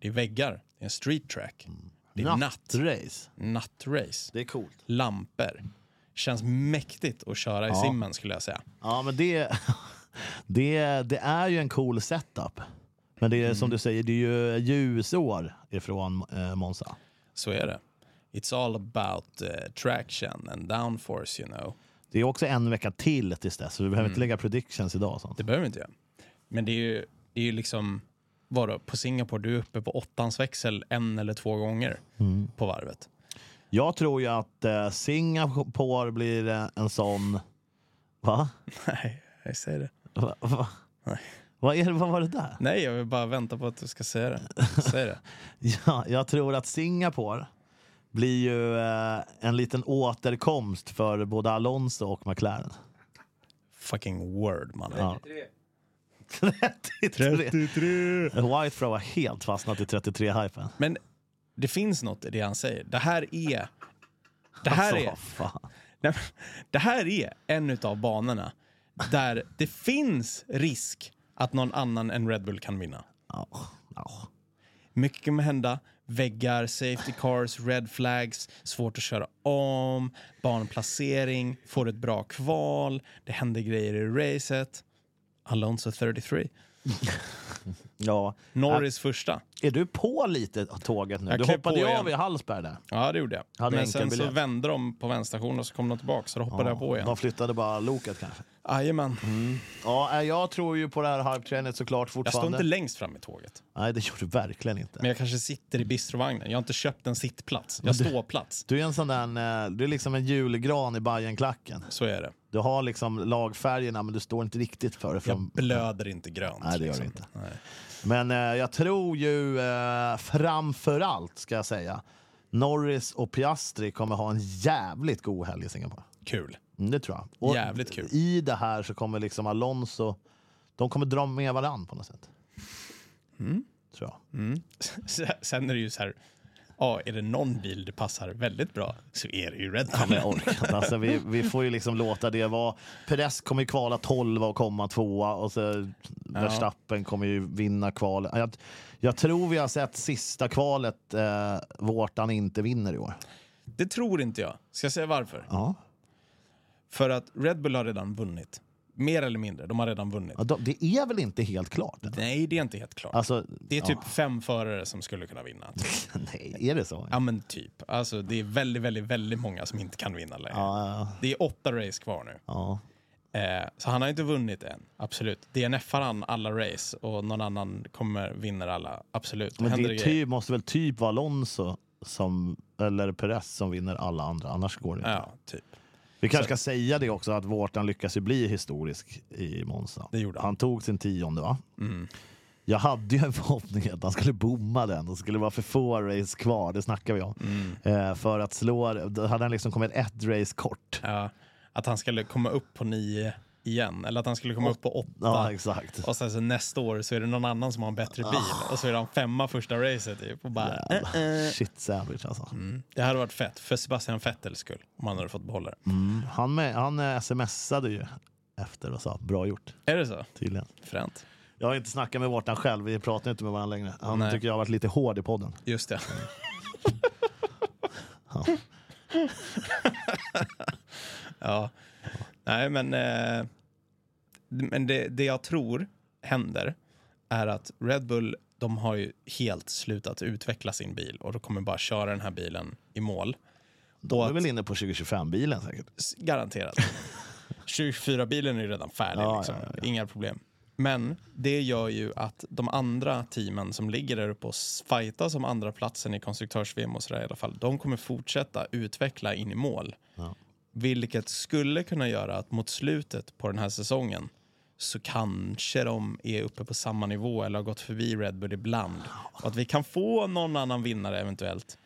B: det är väggar, det är en street track. Det är natt,
A: Nattrace.
B: nattrace,
A: Det är coolt.
B: lampor. Känns mäktigt att köra i simmen skulle jag säga.
A: Ja, men det, (laughs) det, det är ju en cool setup. Men det är som du säger, det är ju ljusår ifrån eh, Monza.
B: Så är det. It's all about eh, traction and downforce you know.
A: Det är också en vecka till tills dess, så vi behöver inte lägga predictions idag. och Sånt.
B: Det behöver vi inte göra. Men det är ju, det är ju liksom, vadå, på Singapore, du är uppe på åttans växel en eller två gånger på varvet.
A: Jag tror ju att eh, Singapore blir eh, en sån... Va?
B: (laughs) Nej, jag säger det.
A: Va? Va? Vad, är, det- vad var det där? (laughs)
B: Nej, jag vill bara vänta på att du ska säga det. (laughs) Säg det.
A: Ja, jag tror att Singapore blir ju eh, en liten återkomst för både Alonso och McLaren. (laughs)
B: Fucking word, man.
A: Ja.
D: 33.
A: 33. Whitefrow har helt fastnat i 33-hypen.
B: Men det finns något i det han säger. Det här är... Det här
A: Alltså,
B: är...
A: vad fan.
B: Nej, men Det här är en utav banorna där det finns risk att någon annan än Red Bull kan vinna.
A: Ja, ja.
B: Mycket kan hända. väggar, safety cars, red flags, svårt att köra om, banplacering, får ett bra kval, det händer grejer i racet. Alonso 33.
A: Ja.
B: Norris första.
A: Är du på lite av tåget nu?
B: Jag
A: Du
B: klev
A: hoppade
B: på
A: ju
B: igen.
A: av i Hallsberg där.
B: Ja, det gjorde jag.
A: Hade
B: Men
A: enkel
B: sen så
A: biljett.
B: vände de på vändstationen och så kom de tillbaka, så då hoppade jag på igen.
A: De flyttade bara loket kanske.
B: Jajamän.
A: Mm, Ja, nej, jag tror ju på det här hype-trainet såklart
B: Jag står
A: fortfarande.
B: inte längst fram i tåget,
A: Nej, det gör du verkligen inte.
B: men jag kanske sitter i bistrovagnen. Jag har inte köpt en sittplats. Jag står plats.
A: Du är en sån där, eh, du är liksom en julgran i Bajenklacken.
B: Så är det.
A: Du har liksom lagfärgerna men du står inte riktigt för det.
B: Jag
A: Från...
B: blöder inte grönt.
A: Nej, det gör du
B: liksom.
A: inte.
B: Nej.
A: Men eh, jag tror ju eh, framför allt ska jag säga, Norris och Piastri kommer ha en jävligt god helg i Singapore.
B: Kul.
A: Mm, det tror jag.
B: Jävligt kul.
A: I det här så kommer liksom Alonso, de kommer dra med varann på något sätt.
B: Mm.
A: Tror jag.
B: (laughs) Sen är det ju så här, ja, är det någon bil det passar väldigt bra så är det ju Red
A: Ja,
B: Bull.
A: men jag orkar inte. (laughs) Alltså, vi, vi får ju liksom låta det vara. Perez kommer ju kvala 12 och komma tvåa och så Verstappen kommer ju vinna kvalet. Jag, jag tror vi har sett sista kvalet eh, Vårtan inte vinner i år.
B: Det tror inte jag. Ska jag säga varför?
A: Ja.
B: För att Red Bull har redan vunnit. Mer eller mindre, de har redan vunnit.
A: Ja, de, det är väl inte helt klart? än?
B: Nej, det är inte helt klart.
A: Alltså,
B: det är typ fem förare som skulle kunna vinna. Typ.
A: (laughs) nej, är det så?
B: Ja men typ. Alltså det är väldigt, väldigt, väldigt många som inte kan vinna längre.
A: Ja,
B: Det är åtta race kvar nu.
A: ja.
B: Eh, så han har inte vunnit än, absolut. DNFar han alla race och någon annan kommer vinner alla, absolut. Då
A: Men
B: händer
A: det är
B: grejer.
A: typ, måste väl typ vara Alonso som, eller Perez som vinner alla andra, annars går det inte.
B: Ja, typ.
A: Vi kanske ska säga det också, att Vårtan lyckas ju bli historisk i Monza.
B: Det gjorde han.
A: han tog sin tionde va? Jag hade ju en förhoppning att han skulle bomma den och skulle vara för få race kvar, det snackar vi om. Eh, för att slå, då hade han liksom kommit ett race kort.
B: Ja, att han skulle komma upp på nio igen, eller att han skulle komma upp på åtta.
A: Ja, exakt. Ah.
B: och sen så nästa år så är det någon annan som har en bättre bil och så är han femma första racet typ. Och bara, eh,
A: Shit savage alltså.
B: det hade varit fett, för Sebastian Vettels skull, om han hade fått behålla det.
A: Han, med, han eh, smsade ju efter och sa bra gjort,
B: Är det så?
A: tydligen.
B: Fränt.
A: Jag har inte snackat med Vårtan själv, vi pratar inte med varandra längre. Han
B: Nej.
A: tycker jag har varit lite hård i podden.
B: Just det.
A: Ja.
B: ja. Nej, men, eh, men det, det jag tror händer är att Red Bull, de har ju helt slutat utveckla sin bil och de kommer bara köra den här bilen i mål.
A: De är
B: att-
A: väl inne på 2025-bilen säkert.
B: S- (laughs) Garanterat. 24-bilen är ju redan färdig.
A: Ja,
B: liksom.
A: ja,
B: Inga problem. Men det gör ju att de andra teamen som ligger där uppe och s- fightas om andra platsen i konstruktörs-VM och sådär i alla fall, de kommer fortsätta utveckla in i mål. Vilket skulle kunna göra att mot slutet på den här säsongen så kanske de är uppe på samma nivå eller har gått förbi Red Bull ibland. Och att vi kan få någon annan vinnare eventuellt.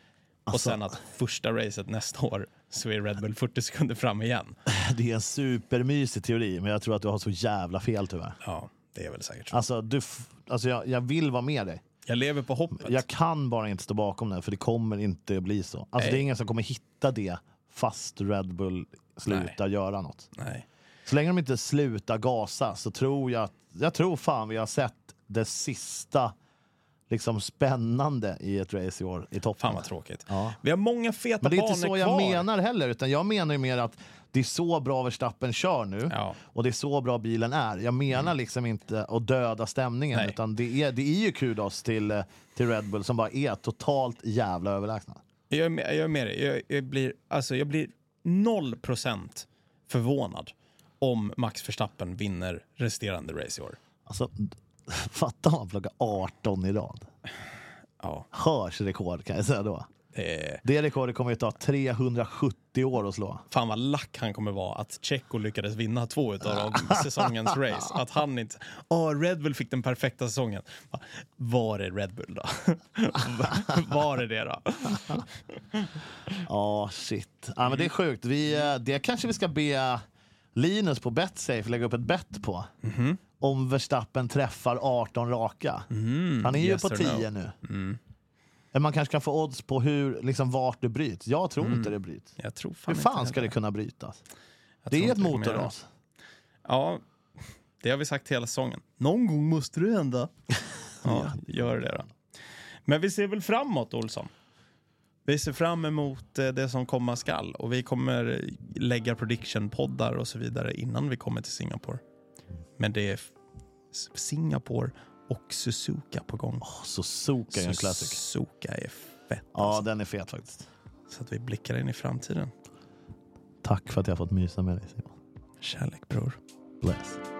B: Och sen att första racet nästa år så är Red Bull 40 sekunder fram igen.
A: (laughs) Det är en supermysig teori, men jag tror att du har så jävla fel tyvärr.
B: Ja, det är väl säkert så.
A: Alltså, du f- alltså jag, jag vill vara med dig.
B: Jag lever på hoppet.
A: Jag kan bara inte stå bakom det, för det kommer inte bli så. Alltså, det är
B: Nej.
A: ingen som kommer hitta det fast Red Bull slutar göra något.
B: Nej.
A: Så länge de inte slutar gasa så tror jag att, jag tror fan vi har sett det sista liksom spännande i ett race i år i toppen.
B: Fan vad tråkigt.
A: Ja.
B: Vi har många feta
A: Men det är inte
B: banor
A: så jag
B: kvar.
A: menar heller, utan jag menar ju mer att det är så bra Verstappen kör nu
B: Ja. Mm.
A: och det är så bra bilen är. Jag menar liksom inte att döda stämningen,
B: Nej.
A: utan det är, det är ju kudos till, eh, till Red Bull som bara är totalt jävla överlägsna.
B: Jag är med, jag är med dig. Jag, jag, blir, alltså, jag blir 0% förvånad om Max Verstappen vinner resterande race i år.
A: Alltså, (laughs) fatta om han plockar 18 i rad.
B: Ja,
A: Hörs rekord kan jag säga då.
B: det är,
A: Det rekordet kommer ju ta 370 år att slå.
B: fan vad lack han kommer vara att Checo lyckades vinna två utav
A: (laughs)
B: säsongens race. Att han inte... Åh, Red Bull fick den perfekta säsongen. Va, Var är Red Bull då? (laughs) Var är det då?
A: Ja, shit. Ja, men det är
B: Mm.
A: sjukt. Vi, eh, det kanske vi ska be Linus på Betsafe lägga upp ett bet på.
B: Mhm.
A: Om Verstappen träffar 18 raka. Han är ju
B: Mm. yes
A: på
B: or Mm.
A: 10 nu. Men Man kanske kan få odds på hur, liksom, vart det bryts. Jag tror inte det bryts.
B: Jag tror Mm. fan
A: Hur fan
B: inte
A: ska det
B: heller.
A: kunna brytas?
B: Jag
A: Det
B: tror
A: är ett
B: inte kommer göra
A: motorras.
B: det. Ja, (laughs) det har vi sagt hela säsongen. Någon gång måste det hända. Ja, gör det då. Men vi ser väl framåt, Olsson. Vi ser fram emot eh, det som komma skall och vi kommer lägga prediction-poddar och så vidare innan vi kommer till Singapore. Men det är f- Singapore och Suzuka på gång.
A: Suzuka är en classic.
B: Suzuka är fett. alltså.
A: Ja, den är fet faktiskt.
B: Så att vi blickar in i framtiden.
A: Tack för att jag har fått mysa med dig Simon.
B: Kärlek, bror.
A: Bless.